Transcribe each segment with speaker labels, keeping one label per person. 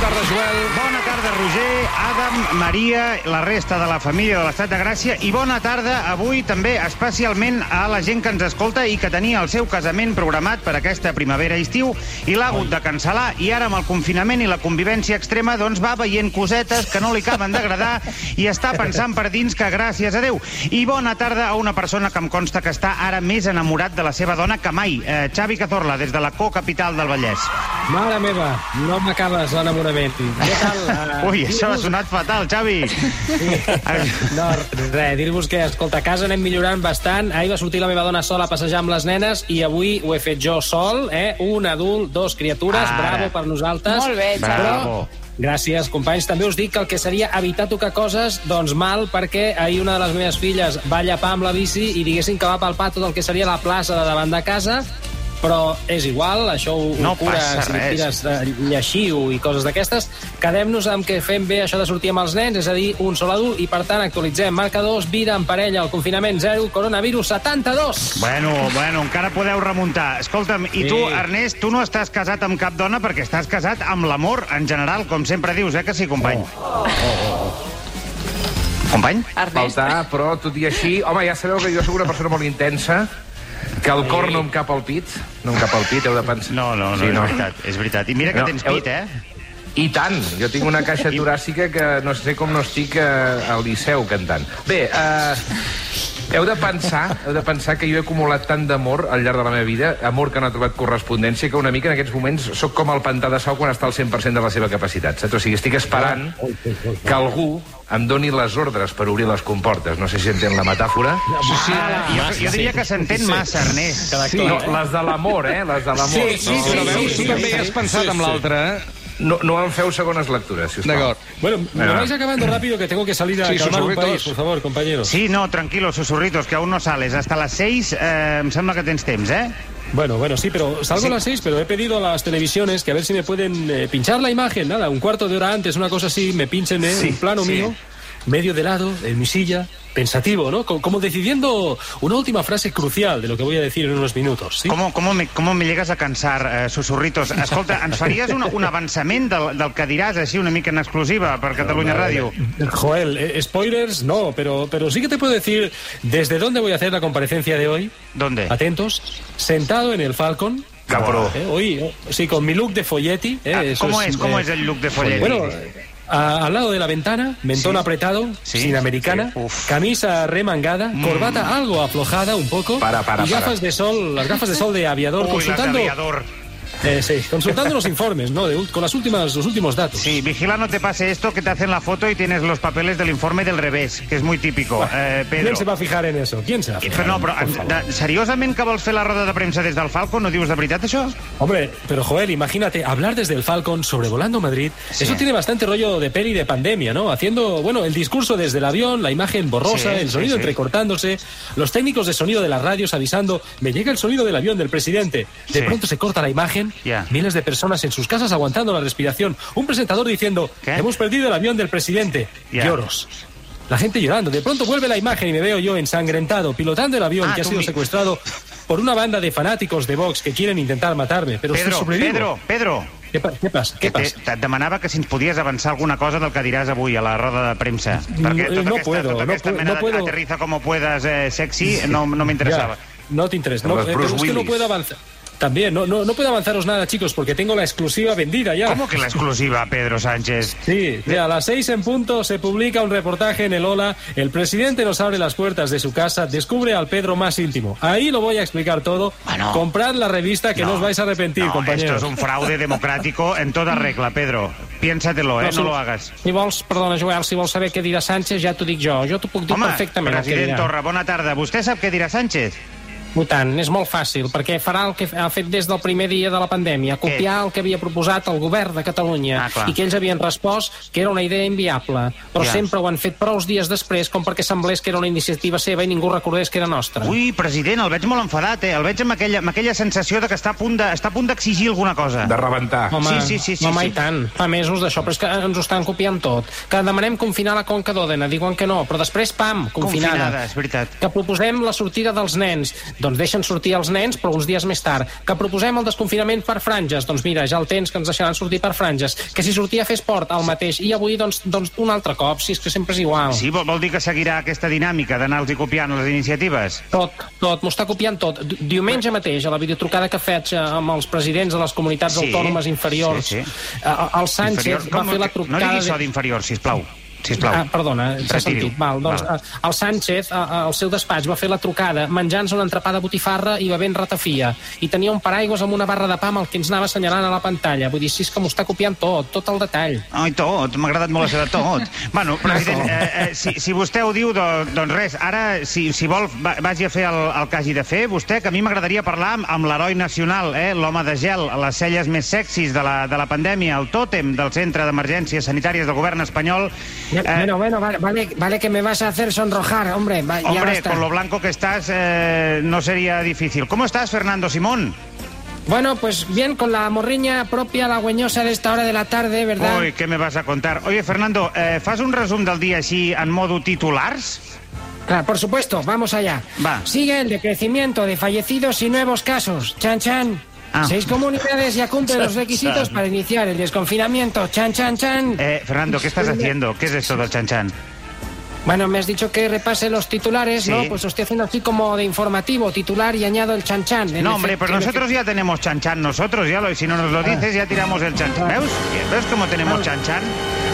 Speaker 1: tarda, Joel.
Speaker 2: Bona tarda, Roger, Adam, Maria, la resta de la família de l'Estat de Gràcia i bona tarda avui també especialment a la gent que ens escolta i que tenia el seu casament programat per aquesta primavera-estiu i l'ha hagut de cancel·lar i ara amb el confinament i la convivència extrema doncs va veient cosetes que no li acaben d'agradar i està pensant per dins que gràcies a Déu. I bona tarda a una persona que em consta que està ara més enamorat de la seva dona que mai, eh, Xavi Cazorla, des de la co-capital del Vallès.
Speaker 1: Mare meva, no m'acabes l'enamorament. Què tal? Eh,
Speaker 2: Ah. Ui, això ha
Speaker 1: dir-vos-
Speaker 2: sonat fatal, Xavi.
Speaker 1: No, res, dir-vos que, escolta, a casa anem millorant bastant. Ahir va sortir la meva dona sola a passejar amb les nenes i avui ho he fet jo sol, eh? Un adult, dos criatures,
Speaker 2: Ara.
Speaker 1: bravo per nosaltres.
Speaker 3: Molt bé, Xavi.
Speaker 2: Bravo.
Speaker 1: Gràcies, companys. També us dic que el que seria evitar tocar coses, doncs mal, perquè ahir una de les meves filles va llapar amb la bici i diguéssim que va palpar tot el que seria la plaça de davant de casa, però és igual, això ho,
Speaker 2: No
Speaker 1: ho cura
Speaker 2: passa
Speaker 1: si
Speaker 2: res.
Speaker 1: tires eh, lleixiu i coses d'aquestes. Quedem-nos amb que fem bé això de sortir amb els nens, és a dir, un sol adult, i per tant actualitzem marcadors, vida en parella, el confinament 0, coronavirus 72.
Speaker 2: Bueno, bueno, encara podeu remuntar. Escolta'm, i tu,
Speaker 1: Sí.
Speaker 2: Ernest, tu no estàs casat amb cap dona perquè estàs casat amb l'amor, en general, com sempre dius, eh, que sí, company? Oh. Company?
Speaker 3: Ernest.
Speaker 4: faltar, però tot i així... Home, ja sabeu que jo soc una persona molt intensa, que el cor no em cap al pit, no em cap al pit, heu de pensar...
Speaker 2: No, no, no, sí, no. és veritat, és veritat. I mira que
Speaker 4: No,
Speaker 2: no, tens
Speaker 4: heu-
Speaker 2: pit, eh?
Speaker 4: I tant, jo tinc una caixa toràcica que no sé com no estic eh, al Liceu cantant. Bé, eh, heu de pensar, heu de pensar que jo he acumulat tant d'amor al llarg de la meva vida, amor que no ha trobat correspondència, que una mica en aquests moments sóc com el pantà de sau quan està al 100% de la seva capacitat, saps? O sigui, estic esperant que algú em doni les ordres per obrir les comportes. No sé si entén la metàfora.
Speaker 2: Sí, jo, jo diria que s'entén massa, Ernest.
Speaker 1: Queda
Speaker 4: Sí, no, les de l'amor, eh? Les de l'amor.
Speaker 5: Sí, sí,
Speaker 4: no, no,
Speaker 5: sí, sí,
Speaker 4: no,
Speaker 5: sí, tu també has pensat amb l'altre, eh?
Speaker 4: No, no en feu segones lectures, si us plau.
Speaker 5: D'acord.
Speaker 1: Bueno, me
Speaker 4: Venga.
Speaker 1: vais acabando rápido que tengo que salir a
Speaker 5: Sí,
Speaker 1: calmar un
Speaker 5: sobre
Speaker 1: país,
Speaker 5: todos.
Speaker 1: por favor, compañeros.
Speaker 2: Sí, no, tranquilo, susurritos, que aún no sales. Hasta las 6 eh, em sembla que tens temps, eh?
Speaker 1: Bueno, bueno, sí, pero salgo a las seis, pero he pedido a las televisiones que a ver si me pueden eh, pinchar la imagen, nada, un cuarto de hora antes, una cosa así, me pinchen eh,
Speaker 4: Sí,
Speaker 1: un plano
Speaker 4: sí.
Speaker 1: mío, medio de lado, en mi silla, pensativo, ¿no? Co- Como decidiendo una última frase crucial de lo que voy a decir en unos minutos, ¿sí?
Speaker 2: ¿Cómo, cómo, me, ¿Cómo me llegas a cansar, eh, susurritos? Escolta, ens faries un, un avançament del, del que diràs, així, una mica en exclusiva per Catalunya Ràdio?
Speaker 1: Joel, eh, spoilers, no, pero, pero sí que te puedo decir desde dónde voy a hacer la comparecencia de hoy.
Speaker 2: ¿Dónde?
Speaker 1: eh, Atentos, sentado en el Falcon.
Speaker 4: Capró.
Speaker 1: Eh, hoy, eh, sí, con mi look de folletti. eh,
Speaker 2: Ah,
Speaker 1: eso
Speaker 2: ¿Cómo es, cómo
Speaker 1: eh,
Speaker 2: es el look de Folletti?
Speaker 1: Bueno, a- al lado de la ventana, mentón
Speaker 2: eh, Sí.
Speaker 1: apretado,
Speaker 2: Sí.
Speaker 1: sin americana,
Speaker 2: Sí. Uf. Mm.
Speaker 1: camisa remangada, corbata algo aflojada un poco,
Speaker 4: Para, para,
Speaker 1: y gafas
Speaker 4: para.
Speaker 1: de sol, las gafas de sol de aviador,
Speaker 2: Uy, las de
Speaker 1: consultando,
Speaker 2: aviador.
Speaker 1: eh, sí, consultando los informes, ¿no? De ul- con las últimas, los últimos datos.
Speaker 2: Sí, vigila no te pase esto que te hacen la foto y tienes los papeles del informe del revés, que es muy típico. Eh, Pedro.
Speaker 1: ¿Quién se va a fijar en eso? ¿Quién se va a
Speaker 2: Eh,
Speaker 1: fijar?
Speaker 2: Però no, però
Speaker 1: Por favor.
Speaker 2: de, seriosament que vols fer la roda de premsa des del Falco? No dius de veritat, això?
Speaker 1: Hombre, pero Joel, imagínate, hablar desde el Falcon sobrevolando Madrid,
Speaker 2: Sí.
Speaker 1: eso tiene bastante rollo de peli de pandemia, ¿no? Haciendo, bueno, el discurso desde el avión, la imagen borrosa,
Speaker 2: Sí,
Speaker 1: el
Speaker 2: sí,
Speaker 1: sonido
Speaker 2: sí.
Speaker 1: entrecortándose, los técnicos de sonido de las radios avisando, me llega el sonido del avión del presidente, de
Speaker 2: Sí.
Speaker 1: pronto se corta la imagen,
Speaker 2: Ya.
Speaker 1: miles de personas en sus casas aguantando la respiración, un presentador diciendo,
Speaker 2: ¿Qué?
Speaker 1: hemos perdido el avión del presidente,
Speaker 2: Ya.
Speaker 1: lloros. La gente llorando. De pronto vuelve la imagen y me veo yo ensangrentado, pilotando el avión
Speaker 2: Ah,
Speaker 1: que ha
Speaker 2: tú
Speaker 1: sido
Speaker 2: mi-
Speaker 1: secuestrado por una banda de fanáticos de Vox que quieren intentar matarme. Pero
Speaker 2: Pedro,
Speaker 1: estoy sobrevivo.
Speaker 2: Pedro, Pedro,
Speaker 1: ¿Qué, pa- qué pasa?
Speaker 2: que
Speaker 1: ¿Qué
Speaker 2: te,
Speaker 1: pasa?
Speaker 2: et demanava que si ens podies avançar alguna cosa del que diràs avui a la roda de premsa. Perquè
Speaker 1: No, eh,
Speaker 2: tota
Speaker 1: no
Speaker 2: aquesta,
Speaker 1: puedo,
Speaker 2: tota
Speaker 1: no
Speaker 2: aquesta
Speaker 1: pu-
Speaker 2: mena
Speaker 1: no
Speaker 2: de
Speaker 1: puedo.
Speaker 2: aterriza como puedas eh, sexy no, no m'interessava.
Speaker 1: Ya, no te interesa.
Speaker 4: Con
Speaker 1: No,
Speaker 4: los
Speaker 1: eh, pero
Speaker 4: Bruce
Speaker 1: es que no
Speaker 4: Willis.
Speaker 1: puedo avanzar. También, no, no, no puedo avanzaros nada, chicos, porque tengo la exclusiva vendida ya.
Speaker 2: ¿Cómo que la exclusiva, Pedro Sánchez?
Speaker 1: Sí, de a las seis en punto se publica un reportaje en el Ola. El presidente nos abre las puertas de su casa, descubre al Pedro más íntimo. Ahí lo voy a explicar todo.
Speaker 2: Bueno.
Speaker 1: Comprad la revista que no, os vais a arrepentir,
Speaker 2: Ah, no,
Speaker 1: compañeros.
Speaker 2: Esto es un fraude democrático en toda regla, Pedro. Piénsatelo, ¿eh? No, lo hagas.
Speaker 1: Si vols, perdona, Joel, si vols saber què dirà Sánchez, ja t'ho dic jo. Jo t'ho puc dir
Speaker 2: Home,
Speaker 1: perfectament. el que
Speaker 2: president
Speaker 1: dirà.
Speaker 2: Torra, bona tarda. Vostè sap què dirà Sánchez?
Speaker 1: I tant, és molt fàcil, perquè farà el que ha fet des del primer dia de la pandèmia, copiar el que havia proposat el govern de Catalunya
Speaker 2: Ah, clar.
Speaker 1: i que ells havien respost que era una idea inviable, però
Speaker 2: Ja.
Speaker 1: sempre ho han fet prous dies després com perquè semblés que era una iniciativa seva i ningú recordés que era nostra.
Speaker 2: Ui, president, el veig molt enfadat, eh? El veig amb aquella, amb aquella sensació de que està a punt de- està a punt d'exigir alguna cosa.
Speaker 4: De rebentar.
Speaker 1: Home,
Speaker 2: Sí, sí, sí, sí,
Speaker 1: home
Speaker 2: sí.
Speaker 1: i tant. Fa mesos d'això, però és que ens ho estan copiant tot. Que demanem confinar la Conca d'Òdena, diuen que no, però després, pam, confinada.
Speaker 2: Confinada, és veritat.
Speaker 1: Que proposem la sortida dels nens.
Speaker 6: doncs deixen sortir els nens, però uns dies més tard. Que proposem el desconfinament per franges, doncs mira, ja el tens que ens deixaran sortir per franges. Que si sortia a fer esport, el mateix. I avui, doncs, doncs un altre cop, si és que sempre és igual.
Speaker 2: Sí, vol, vol dir que seguirà aquesta dinàmica d'anar-los copiant les iniciatives?
Speaker 6: Tot, tot, m'ho està copiant tot. D- Diumenge mateix, a la videotrucada que faig eh, amb els presidents de les comunitats
Speaker 2: Sí,
Speaker 6: autònomes inferiors,
Speaker 2: sí, sí.
Speaker 6: eh, el Sánchez
Speaker 2: Inferior-
Speaker 6: va fer la
Speaker 2: que-
Speaker 6: trucada...
Speaker 2: No diguis
Speaker 6: de-
Speaker 2: so d'inferior, sisplau. Sisplau.
Speaker 6: Ah, perdona, s'ha
Speaker 2: Retiri-ho.
Speaker 6: sentit. Val, doncs,
Speaker 2: Val.
Speaker 6: eh, el Sánchez, eh, eh, al seu despatx, va fer la trucada menjant-se un entrepà de botifarra i bevent ratafia. I tenia un paraigües amb una barra de pa amb el que ens anava assenyalant a la pantalla. Vull dir, si és que m'ho està copiant tot, tot el detall.
Speaker 2: Ai, tot, m'ha agradat molt la seva tot. Bueno,
Speaker 6: Ah,
Speaker 2: president, eh, eh, si, si vostè ho diu, do, doncs res, ara, si, si vol, va, vagi a fer el, el que hagi de fer, vostè, que a mi m'agradaria parlar amb, amb l'heroi nacional, eh, l'home de gel, les celles més sexis de la, de la pandèmia, el tòtem del Centre d'Emergències Sanitàries del govern espanyol. Eh,
Speaker 6: bueno, vale, vale, que me vas a hacer sonrojar, hombre.
Speaker 2: hombre, con lo blanco que estás, eh, no sería difícil. ¿Cómo estás, Fernando Simón?
Speaker 6: Bueno, pues bien, con la morriña propia lagüeñosa de esta hora de la tarde, ¿verdad?
Speaker 2: Ui, què me vas a contar? Oye, Fernando, eh, fas un resum del dia així en modo titulars?
Speaker 6: Claro, Ah, por supuesto, vamos allá.
Speaker 2: Va.
Speaker 6: Sigue el decrecimiento de fallecidos y nuevos casos. Chan, chan.
Speaker 2: Ah.
Speaker 6: Seis comunidades ya cumplen los requisitos para iniciar el desconfinamiento. Chan, chan, chan.
Speaker 2: Eh, Fernando, ¿qué estás haciendo? ¿Qué es esto del chanchán?
Speaker 6: Bueno, me has dicho que repase los titulares,
Speaker 2: Sí.
Speaker 6: ¿no? Pues lo estoy haciendo así como de informativo, titular y añado el chan, chan. En
Speaker 2: No, hombre,
Speaker 6: efecto, Ah.
Speaker 2: pues
Speaker 6: en
Speaker 2: nosotros ya tenemos chanchán nosotros, ya lo, si no nos lo dices ya tiramos el chanchán. ¿Veus? ¿Ves cómo tenemos chanchán?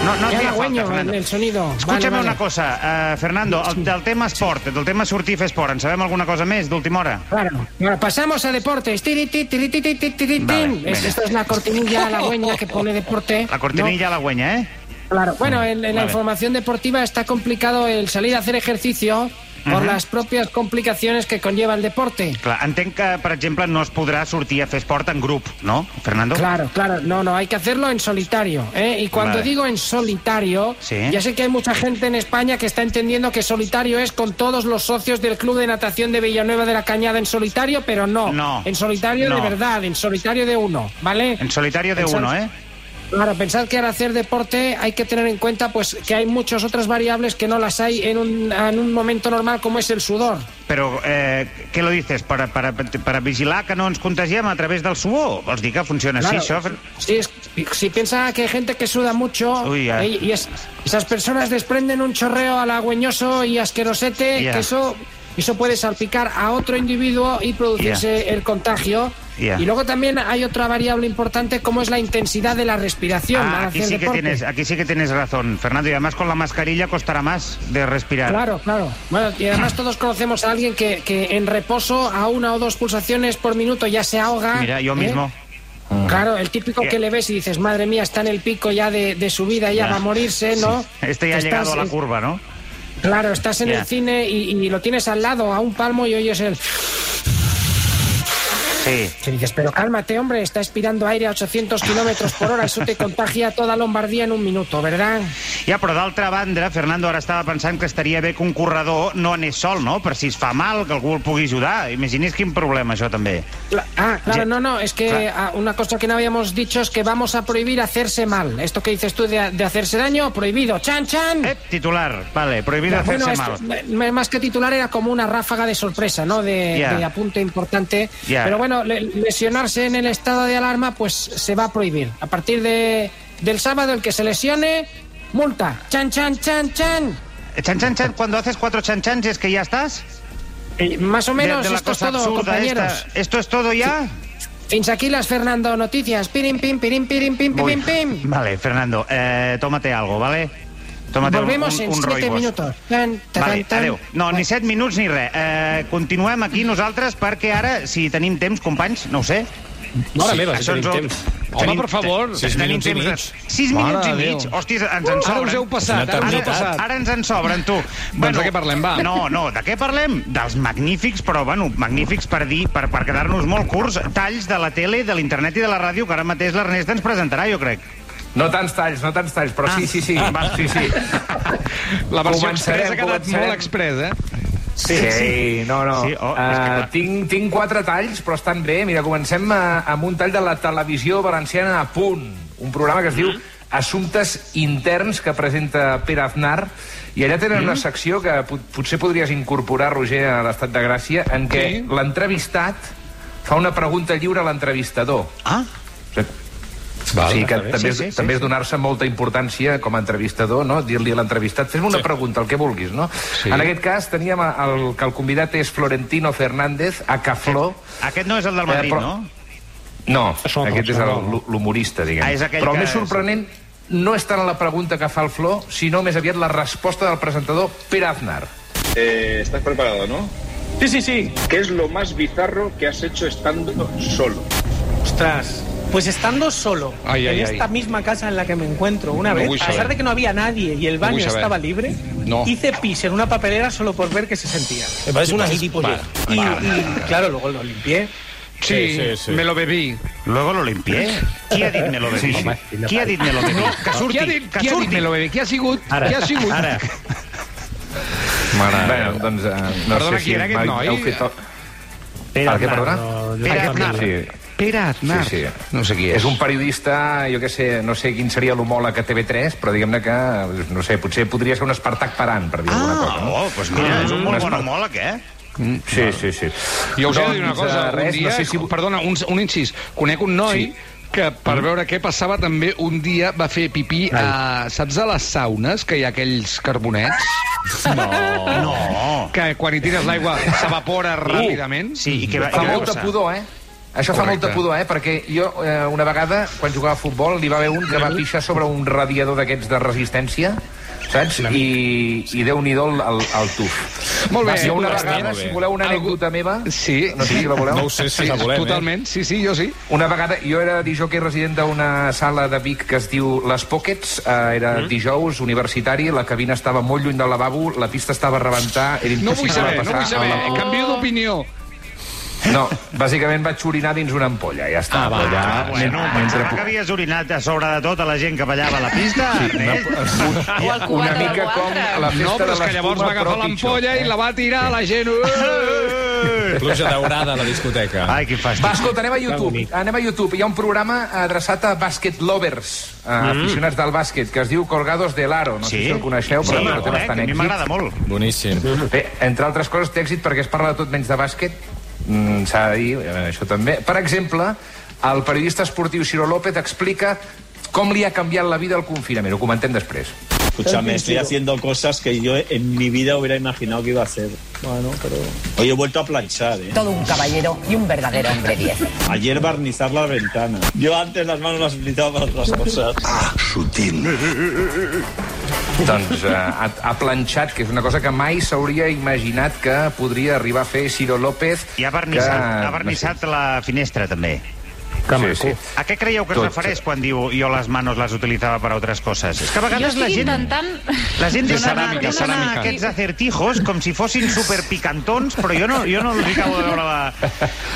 Speaker 2: No, no
Speaker 6: efecto. Ah. Ya
Speaker 2: hacía falta,
Speaker 6: halagüeño
Speaker 2: Fernando.
Speaker 6: el sonido. Vale,
Speaker 2: Escúchame
Speaker 6: vale.
Speaker 2: una cosa, eh, Fernando, el, del tema esport, del tema sortir a fer esport, en sabem alguna cosa més d'última hora?
Speaker 6: Claro, Bueno, pasamos a deportes. Tiri, ti, tiri, ti, ti, ti, tiri, tin.
Speaker 2: Vale,
Speaker 6: Es-
Speaker 2: venga.
Speaker 6: Esta es la cortinilla halagüeña que pone deporte.
Speaker 2: La
Speaker 6: ¿no?
Speaker 2: cortinilla la güenya, eh?
Speaker 6: Claro, bueno, en, en la
Speaker 2: Vale.
Speaker 6: información deportiva está complicado el salir a hacer ejercicio por
Speaker 2: Ajá.
Speaker 6: las propias complicaciones que conlleva el deporte.
Speaker 2: Clar, entenc que, per exemple, no es podrà sortir a fer esport en grup, no, Fernando?
Speaker 6: Claro, claro, no, no, hay que hacerlo en solitario. ¿eh? Y cuando
Speaker 2: Vale.
Speaker 6: digo en solitario,
Speaker 2: Sí.
Speaker 6: ya sé que hay mucha gente en España que está entendiendo que solitario es con todos los socios del Club de Natación de Villanueva de la Cañada en solitario, pero no.
Speaker 2: No.
Speaker 6: En solitario
Speaker 2: No.
Speaker 6: de verdad, en solitario de uno, ¿vale?
Speaker 2: En solitario de
Speaker 6: En sol-
Speaker 2: uno, eh?
Speaker 6: Claro, pensad que al hacer deporte hay que tener en cuenta pues que hay muchas otras variables que no las hay en un, en un momento normal como es el sudor.
Speaker 2: Però eh, què lo dices? Per, per, per vigilar que no ens contagiem a través del suor? Vols dir que funciona
Speaker 6: Claro.
Speaker 2: així, això? Fer-
Speaker 6: Si, es- si piensa que hay gente que suda mucho
Speaker 2: Uy, ya.
Speaker 6: eh, y es- esas personas desprenden un chorreo halagüeñoso y asquerosete,
Speaker 2: Ya.
Speaker 6: que eso, eso puede salpicar a otro individuo y producirse el contagio.
Speaker 2: Ya.
Speaker 6: Y luego también hay otra variable importante como es la intensidad de la respiración. al
Speaker 2: Ah, aquí
Speaker 6: hacer
Speaker 2: sí que
Speaker 6: deporte.
Speaker 2: tienes, aquí sí que tienes razón, Fernando. Y además con la mascarilla costará más de respirar.
Speaker 6: Claro, claro. Bueno, y además todos conocemos a alguien que, que en reposo a una o dos pulsaciones por minuto ya se ahoga.
Speaker 2: Mira, yo
Speaker 6: ¿eh?
Speaker 2: mismo.
Speaker 6: Claro, el típico
Speaker 2: Ya.
Speaker 6: que le ves y dices, madre mía, está en el pico ya de, de su vida, ¿eh? ya,
Speaker 2: Ya.
Speaker 6: va a morirse, ¿no?
Speaker 2: Sí. Este ya ha
Speaker 6: Estás,
Speaker 2: llegado a la
Speaker 6: eh,
Speaker 2: curva, ¿no?
Speaker 6: Claro, estás en
Speaker 2: Ya.
Speaker 6: el cine y, y lo tienes al lado, a un palmo, y oyes el...
Speaker 2: Sí.
Speaker 6: Y dices, pero cálmate, hombre, está expirando aire a 800 kilómetros por hora, eso te contagia toda Lombardía en un minuto, ¿verdad?
Speaker 2: Ja, però d'altra banda, Fernando ara estava pensant que estaria bé que un corredor no anés sol, no? Per si es fa mal, que algú el pugui ajudar. Imagini's quin problema, això, també.
Speaker 6: Cla- Ah, claro,
Speaker 2: Ya.
Speaker 6: no, no, es que
Speaker 2: Claro.
Speaker 6: ah, una cosa que no habíamos dicho es que vamos a prohibir hacerse mal. Esto que dices tú de, de hacerse daño, prohibido. ¡Chan, chan!
Speaker 2: Ep, titular. Vale, prohibido
Speaker 6: Mm. Bueno,
Speaker 2: hacerse
Speaker 6: esto,
Speaker 2: mal.
Speaker 6: m- más que titular era como una ráfaga de sorpresa, ¿no? De,
Speaker 2: Ya.
Speaker 6: de apunte importante.
Speaker 2: Ya.
Speaker 6: Pero bueno, le- lesionarse en el estado de alarma, pues se va a prohibir. A partir de, del sábado, el que se lesione, multa. ¡Chan, chan, chan, chan!
Speaker 2: Chan, chan, chan. Cuando haces cuatro chan, chans es que ya estás.
Speaker 6: Eh, Más o
Speaker 2: De-
Speaker 6: menos
Speaker 2: de, la
Speaker 6: esto es
Speaker 2: cosa
Speaker 6: todo,
Speaker 2: absurda
Speaker 6: compañeros.
Speaker 2: esta. ¿Esto es todo ya?
Speaker 6: Fins aquí las Fernando Noticias. Pirim, pim, pirim, pirim, pim, pim,
Speaker 2: Uy.
Speaker 6: pim, pim.
Speaker 2: Vale, Fernando, eh, tómate algo, ¿vale? Tómate un-
Speaker 6: Volvemos
Speaker 2: un,
Speaker 6: en
Speaker 2: un
Speaker 6: siete
Speaker 2: roibos.
Speaker 6: minutos. Tan, tan,
Speaker 2: Vale,
Speaker 6: tan.
Speaker 2: adeu. No, ni set minuts ni res. Eh, continuem aquí nosaltres perquè ara, si tenim temps, companys, no ho sé...
Speaker 1: Mare meva, si
Speaker 2: això
Speaker 1: tenim
Speaker 2: ens ho-
Speaker 1: temps.
Speaker 5: Home, per favor.
Speaker 2: te-
Speaker 1: Sis
Speaker 2: tenim
Speaker 1: minuts i
Speaker 2: temps
Speaker 1: mig.
Speaker 2: de- Sis minuts i
Speaker 5: Mare de
Speaker 2: mig.
Speaker 5: Déu.
Speaker 2: Hòsties, ens en
Speaker 5: Ara
Speaker 2: sobren.
Speaker 5: us heu
Speaker 1: Una
Speaker 5: passat, ara us heu
Speaker 2: Ara,
Speaker 5: passat.
Speaker 2: ara ens en sobren, tu.
Speaker 5: Doncs de què parlem, va?
Speaker 2: No, no, de què parlem? Dels magnífics, però, bueno, magnífics per dir, per, per quedar-nos molt curts, talls de la tele, de l'internet i de la ràdio, que ara mateix l'Ernest ens presentarà, jo crec.
Speaker 4: No tants talls, no tants talls, però sí, sí, sí. Va, sí, sí.
Speaker 5: Ah. La versió
Speaker 4: Començarem,
Speaker 5: expressa ha quedat
Speaker 4: començarem.
Speaker 5: molt eh? expressa.
Speaker 4: Sí, sí, no, no.
Speaker 2: Sí,
Speaker 4: Sí,
Speaker 2: oh,
Speaker 4: oh,
Speaker 2: és que
Speaker 4: uh,
Speaker 2: clar.
Speaker 4: tinc, tinc quatre talls, però estan bé. Mira, comencem eh, amb un tall de la televisió valenciana a punt. Un programa que es diu assumptes interns que presenta Pere Aznar i allà tenen mm. una secció que pot, potser podries incorporar, Roger, a l'estat de Gràcia en què sí.
Speaker 5: Sí.
Speaker 4: l'entrevistat fa una pregunta lliure a l'entrevistador.
Speaker 2: Ah,
Speaker 4: Val, o sigui que
Speaker 2: està bé.
Speaker 4: també,
Speaker 2: Sí,
Speaker 4: sí,
Speaker 2: sí, sí,
Speaker 4: sí, també
Speaker 2: sí.
Speaker 4: és donar-se molta importància com a entrevistador, no? dir-li a l'entrevistat, fes-me una sí. pregunta, el que vulguis. No? Sí. En aquest cas teníem el, que el convidat és Florentino Fernández, a Cafló.
Speaker 2: aquest no és el del
Speaker 4: Eh,
Speaker 2: Madrid,
Speaker 4: però-
Speaker 2: no?
Speaker 4: No,
Speaker 1: Això no,
Speaker 4: aquest és
Speaker 1: això
Speaker 4: el-
Speaker 1: no.
Speaker 4: l'humorista, diguem.
Speaker 2: Ah, és aquell
Speaker 4: Però el
Speaker 2: que-
Speaker 4: més sorprenent no és tant la pregunta que fa el Flor, sinó més aviat la resposta del presentador Pere Aznar.
Speaker 3: Eh, ¿Estás preparado, no?
Speaker 7: Sí, sí, sí.
Speaker 3: ¿Qué es lo más bizarro que has hecho estando solo?
Speaker 7: Ostras. Pues estando solo,
Speaker 5: Ay,
Speaker 7: en
Speaker 5: ay,
Speaker 7: esta
Speaker 5: ay.
Speaker 7: misma casa en la que me encuentro, una
Speaker 5: No
Speaker 7: vez,
Speaker 5: voy a
Speaker 7: a pesar
Speaker 5: saber.
Speaker 7: de que no había nadie y el
Speaker 5: voy
Speaker 7: baño
Speaker 5: a saber.
Speaker 7: estaba libre,
Speaker 5: No.
Speaker 7: hice pis en una papelera solo por ver qué se sentía.
Speaker 6: Me parece una gilipollez.
Speaker 7: Y, y, claro, luego lo limpié.
Speaker 5: Sí, sí, sí. me lo bebí.
Speaker 2: Luego lo limpié. Qui ha dit me lo bebí? Qui ha dit me lo bebí? Que surti,
Speaker 5: Qui ha dit,
Speaker 2: que
Speaker 5: qui ha dit
Speaker 2: surti.
Speaker 5: me lo bebé? Qui ha sigut?
Speaker 1: Ara.
Speaker 5: Qui ha sigut?
Speaker 2: Ara,
Speaker 4: Mare. Bueno, doncs, eh, no
Speaker 5: Perdona,
Speaker 4: sé si
Speaker 5: qui era aquest
Speaker 4: m'ha-
Speaker 5: noi?
Speaker 4: heu fet el-
Speaker 1: Pere
Speaker 4: Per què,
Speaker 1: Aznar,
Speaker 4: perdona?
Speaker 1: no,
Speaker 2: Pere
Speaker 1: Josep
Speaker 2: Aznar.
Speaker 1: Maria.
Speaker 4: Sí.
Speaker 2: Pere Aznar.
Speaker 4: Sí, sí.
Speaker 5: No sé qui és.
Speaker 4: És un periodista, jo que sé, no sé quin seria l'homòleg a TV3, però diguem-ne que, no sé, potser podria ser un Espartac Parant, per dir alguna
Speaker 2: Ah,
Speaker 4: cosa. No? Ah.
Speaker 2: oh, doncs mira, és un molt bon
Speaker 4: Espartac.
Speaker 2: homòleg, eh?
Speaker 4: Sí, sí, sí.
Speaker 5: Jo us he de dir
Speaker 4: Doncs,
Speaker 5: una cosa,
Speaker 4: eh,
Speaker 5: un
Speaker 4: res,
Speaker 5: dia,
Speaker 4: no sé si...
Speaker 5: perdona, un, un incís, conec un noi
Speaker 4: Sí.
Speaker 5: que per veure què passava també un dia va fer pipí a, saps a les saunes que hi ha aquells carbonets
Speaker 2: No.
Speaker 5: que quan hi tires l'aigua s'evapora ràpidament?
Speaker 2: Sí, i què va, i
Speaker 4: Fa
Speaker 2: què va
Speaker 4: molta
Speaker 2: passar?
Speaker 4: pudor, eh? Això fa
Speaker 5: Correcte.
Speaker 4: molta pudor, eh? Perquè jo, eh, una vegada, quan jugava a futbol, li va haver un que va pixar sobre un radiador d'aquests de resistència, saps? I, i Déu-n'hi-do el, el, el tuf.
Speaker 5: Molt bé.
Speaker 4: Jo una
Speaker 5: Molt bé,
Speaker 4: vegada,
Speaker 6: molt bé.
Speaker 4: si voleu una
Speaker 5: Algú-
Speaker 4: anècdota meva...
Speaker 5: Sí,
Speaker 4: No sé si la voleu.
Speaker 6: No ho sé si la volem, eh?
Speaker 5: totalment, sí, sí, jo sí.
Speaker 4: Una vegada, jo era dijòquei resident d'una sala de Vic que es diu Les Pockets, eh, era mm. dijous, universitari, la cabina estava molt lluny del lavabo, la pista estava a rebentar, era
Speaker 5: No vull
Speaker 4: impossible
Speaker 5: saber,
Speaker 4: passar
Speaker 5: no vull saber,
Speaker 4: al lavabo.
Speaker 5: canvio d'opinió.
Speaker 4: No, bàsicament vaig orinar dins una ampolla, ja està.
Speaker 6: Ah, va,
Speaker 4: Allà,
Speaker 6: ah,
Speaker 2: Bueno, pensava que havies orinat a sobre de tota la gent que ballava a la pista. Ernest.
Speaker 8: O el
Speaker 4: una
Speaker 8: cubat
Speaker 4: mica
Speaker 8: d'algú
Speaker 4: com
Speaker 8: altre.
Speaker 4: la festa
Speaker 5: No, però
Speaker 4: de
Speaker 5: és que llavors va agafar l'ampolla i la va tirar a la gent. Uh!
Speaker 6: Pluja daurada a la discoteca.
Speaker 2: Eh. Ai, quin
Speaker 4: Va,
Speaker 2: fàstic.
Speaker 4: escolta, anem a YouTube. Anem a YouTube. Hi ha un programa adreçat a basket lovers, a aficionats del bàsquet, que es diu Colgados de Laro. No sé si el coneixeu, però
Speaker 2: sí,
Speaker 4: no té
Speaker 2: correcte,
Speaker 4: bastant
Speaker 2: a mi
Speaker 4: èxit.
Speaker 2: m'agrada molt.
Speaker 6: Boníssim.
Speaker 4: Bé, entre altres coses, té èxit perquè es parla de tot menys de bàsquet. Mm, S'ha de dir, eh, això també. Per exemple, el periodista esportiu Ciro López explica com li ha canviat la vida el confinament. Ho comentem després.
Speaker 9: Escúchame, estoy haciendo cosas que yo en mi vida hubiera imaginado que iba a hacer. Bueno, pero... Hoy he vuelto a planchar, ¿eh?
Speaker 10: Todo un caballero y un verdadero hombre 10.
Speaker 9: Ayer barnizar las ventanas. Yo antes las manos las utilizaba para otras cosas.
Speaker 4: Doncs eh, ha, ha planxat, que és una cosa que mai s'hauria imaginat que podria arribar a fer Ciro López.
Speaker 2: I ha vernissat,
Speaker 4: que-
Speaker 2: ha vernissat la finestra, també.
Speaker 1: Que
Speaker 4: Sí,
Speaker 1: maco.
Speaker 4: sí.
Speaker 2: A què creieu que es
Speaker 4: Tot.
Speaker 2: refereix quan diu jo les manos les utilitzava per a altres coses? És que a
Speaker 8: Jo
Speaker 2: vegades la
Speaker 8: estic
Speaker 2: gent...
Speaker 8: intentant...
Speaker 2: La gent
Speaker 5: De
Speaker 2: dona,
Speaker 5: ceràmica,
Speaker 2: dona
Speaker 5: ceràmica.
Speaker 2: aquests acertijos com si fossin superpicantons, però jo no, jo no els acabo de veure la...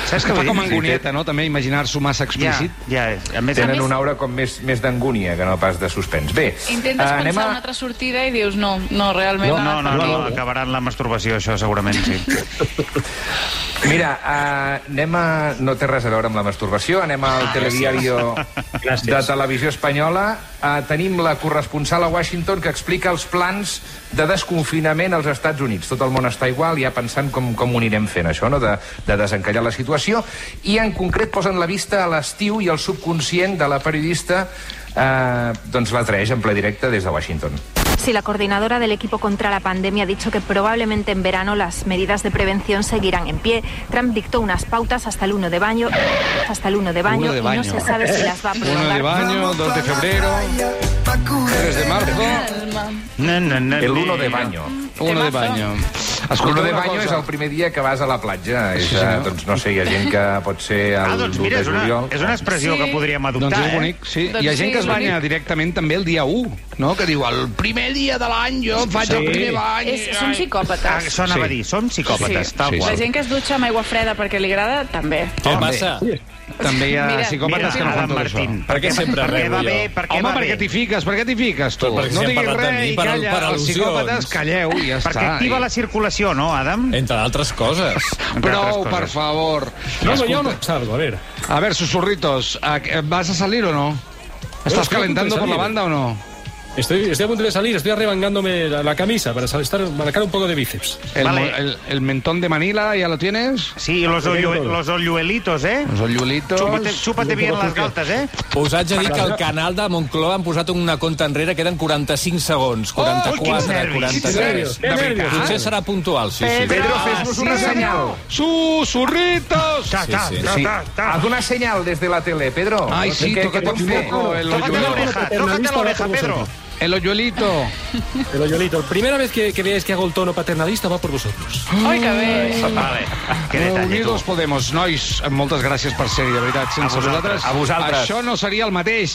Speaker 2: Saps què
Speaker 5: Fa
Speaker 2: vull
Speaker 5: com
Speaker 2: dir?
Speaker 5: angonieta, no?, també, imaginar-s'ho massa
Speaker 2: Ja,
Speaker 5: explícit.
Speaker 2: ja, a més,
Speaker 4: Tenen
Speaker 8: més-
Speaker 4: una aura com més, més d'angúnia que no pas de suspens. Bé,
Speaker 8: Intentes
Speaker 4: eh,
Speaker 8: pensar una altra sortida i dius no, no, realment...
Speaker 2: Ah, No, no,
Speaker 8: ha
Speaker 2: no,
Speaker 8: anat
Speaker 2: no,
Speaker 8: per aquí.
Speaker 2: acabaran la masturbació, això, segurament, sí.
Speaker 4: Mira, uh, anem a... No té res a veure amb la masturbació, anem al telediario
Speaker 1: Gràcies.
Speaker 4: de televisió espanyola. Uh, tenim la corresponsal a Washington que explica els plans de desconfinament als Estats Units. Tot el món està igual, ja pensant com, com ho anirem fent, això, no? de, de desencallar la situació. I en concret posen la vista a l'estiu i el subconscient de la periodista uh, doncs la traeix en ple directe des de Washington.
Speaker 11: Sí, la coordinadora del equipo contra la pandemia ha dicho que probablemente en verano las medidas de prevención seguirán en pie. Trump dictó unas pautas hasta el 1 de baño, hasta el 1 de baño,
Speaker 5: Uno de baño.
Speaker 11: y no se sabe si las va a
Speaker 5: 1 de
Speaker 11: prolongar.
Speaker 5: baño, 2 de febrero, 3 de marzo,
Speaker 8: Calma.
Speaker 2: No, no, no,
Speaker 4: El 1 de baño.
Speaker 5: 1 de baño.
Speaker 4: El
Speaker 5: Escolta,
Speaker 4: de
Speaker 5: una
Speaker 4: baño és el
Speaker 5: cosa.
Speaker 4: primer dia que vas a la platja. És, eh,
Speaker 5: senyor.
Speaker 4: doncs no sé, hi ha gent que pot ser el
Speaker 2: Ah, doncs mira, és
Speaker 4: de
Speaker 2: una,
Speaker 4: juliol.
Speaker 2: és una expressió
Speaker 8: Sí.
Speaker 2: que podríem adoptar,
Speaker 5: Doncs és
Speaker 2: eh?
Speaker 5: bonic, sí.
Speaker 8: Doncs
Speaker 5: Hi ha gent
Speaker 8: sí,
Speaker 5: que
Speaker 8: és
Speaker 5: es banya
Speaker 8: bonic.
Speaker 5: directament també el dia 1, no? Que diu, el primer dia de l'any jo faig el primer bany.
Speaker 8: És, són
Speaker 2: Ah,
Speaker 8: psicòpates.
Speaker 2: això anava
Speaker 5: Sí.
Speaker 2: a dir, som psicòpates,
Speaker 8: Sí.
Speaker 2: tal
Speaker 5: Sí, sí.
Speaker 2: qual.
Speaker 8: La gent que es dutxa amb aigua freda perquè li agrada, també.
Speaker 6: Què passa?
Speaker 5: També hi ha
Speaker 8: Mira,
Speaker 2: Mira,
Speaker 5: psicòpates que no fan
Speaker 2: Adam
Speaker 5: tot això.
Speaker 2: Martín.
Speaker 6: Per què sempre
Speaker 2: Per què
Speaker 6: rebo
Speaker 2: va
Speaker 6: jo?
Speaker 2: bé? Per què
Speaker 5: Home,
Speaker 2: va
Speaker 5: per
Speaker 2: bé? Pues
Speaker 5: què t'hi fiques? Per què t'hi fiques, tu?
Speaker 6: Però perquè
Speaker 5: no
Speaker 6: si hem
Speaker 5: diguis
Speaker 6: parlat de
Speaker 5: res
Speaker 6: mi
Speaker 5: i
Speaker 6: per-
Speaker 5: calla.
Speaker 6: per
Speaker 5: els
Speaker 6: al·lusions.
Speaker 5: psicòpates, calleu i ja
Speaker 2: Perquè
Speaker 5: està.
Speaker 2: activa
Speaker 5: I-
Speaker 2: la circulació, no,
Speaker 1: Eh.
Speaker 2: Adam?
Speaker 6: Entre altres coses.
Speaker 2: Entre
Speaker 5: Prou,
Speaker 2: altres
Speaker 5: per
Speaker 2: coses.
Speaker 5: favor.
Speaker 1: No, no, jo no salgo, a veure.
Speaker 5: A ver, susurritos, a- eh, ¿vas a salir o no? ¿Estás calentando por la banda o no?
Speaker 6: Estoy, estoy a punto de salir, estoy arrebangándome la, la camisa para sal- estar, marcar un poco de bíceps.
Speaker 5: El, mo- el- el mentón de Manila, ¿ya lo tienes?
Speaker 2: Sí, los, ollu- los olluelitos, ¿eh?
Speaker 5: Los olluelitos.
Speaker 2: Chúpate, chúpate bien las galtes, eh?
Speaker 6: Us haig
Speaker 2: de dir que al
Speaker 6: canal de Moncloa han posat una conta enrere, queden 45 segons,
Speaker 2: 44,
Speaker 5: 43.
Speaker 6: De veritat.
Speaker 5: Potser
Speaker 6: serà puntual, sí,
Speaker 5: Pedro,
Speaker 2: Ah,
Speaker 5: fes-nos una senyal. Susurritos.
Speaker 2: Ta, ta,
Speaker 6: Sí, sí.
Speaker 2: ta,
Speaker 4: Sí.
Speaker 2: ta, ta.
Speaker 4: Haz una señal desde la tele, Pedro.
Speaker 5: Ay, sí,
Speaker 4: ¿Qué- qué
Speaker 5: tócate
Speaker 4: pots
Speaker 5: un
Speaker 4: fer?
Speaker 5: poco el
Speaker 2: Tócate la
Speaker 5: hoyuelito.
Speaker 2: oreja, tócate la oreja, Pedro.
Speaker 5: El hoyuelito.
Speaker 6: Pero Yolito, primera vez que, que veáis que hago el tono paternalista va por vosotros.
Speaker 8: Ai, que bé.
Speaker 2: Vale, que detall, tu.
Speaker 5: Unidos Podemos, nois, moltes gràcies per ser-hi, de veritat. Sense
Speaker 2: A vosaltres.
Speaker 5: vosaltres,
Speaker 2: A vosaltres.
Speaker 5: això no seria el mateix.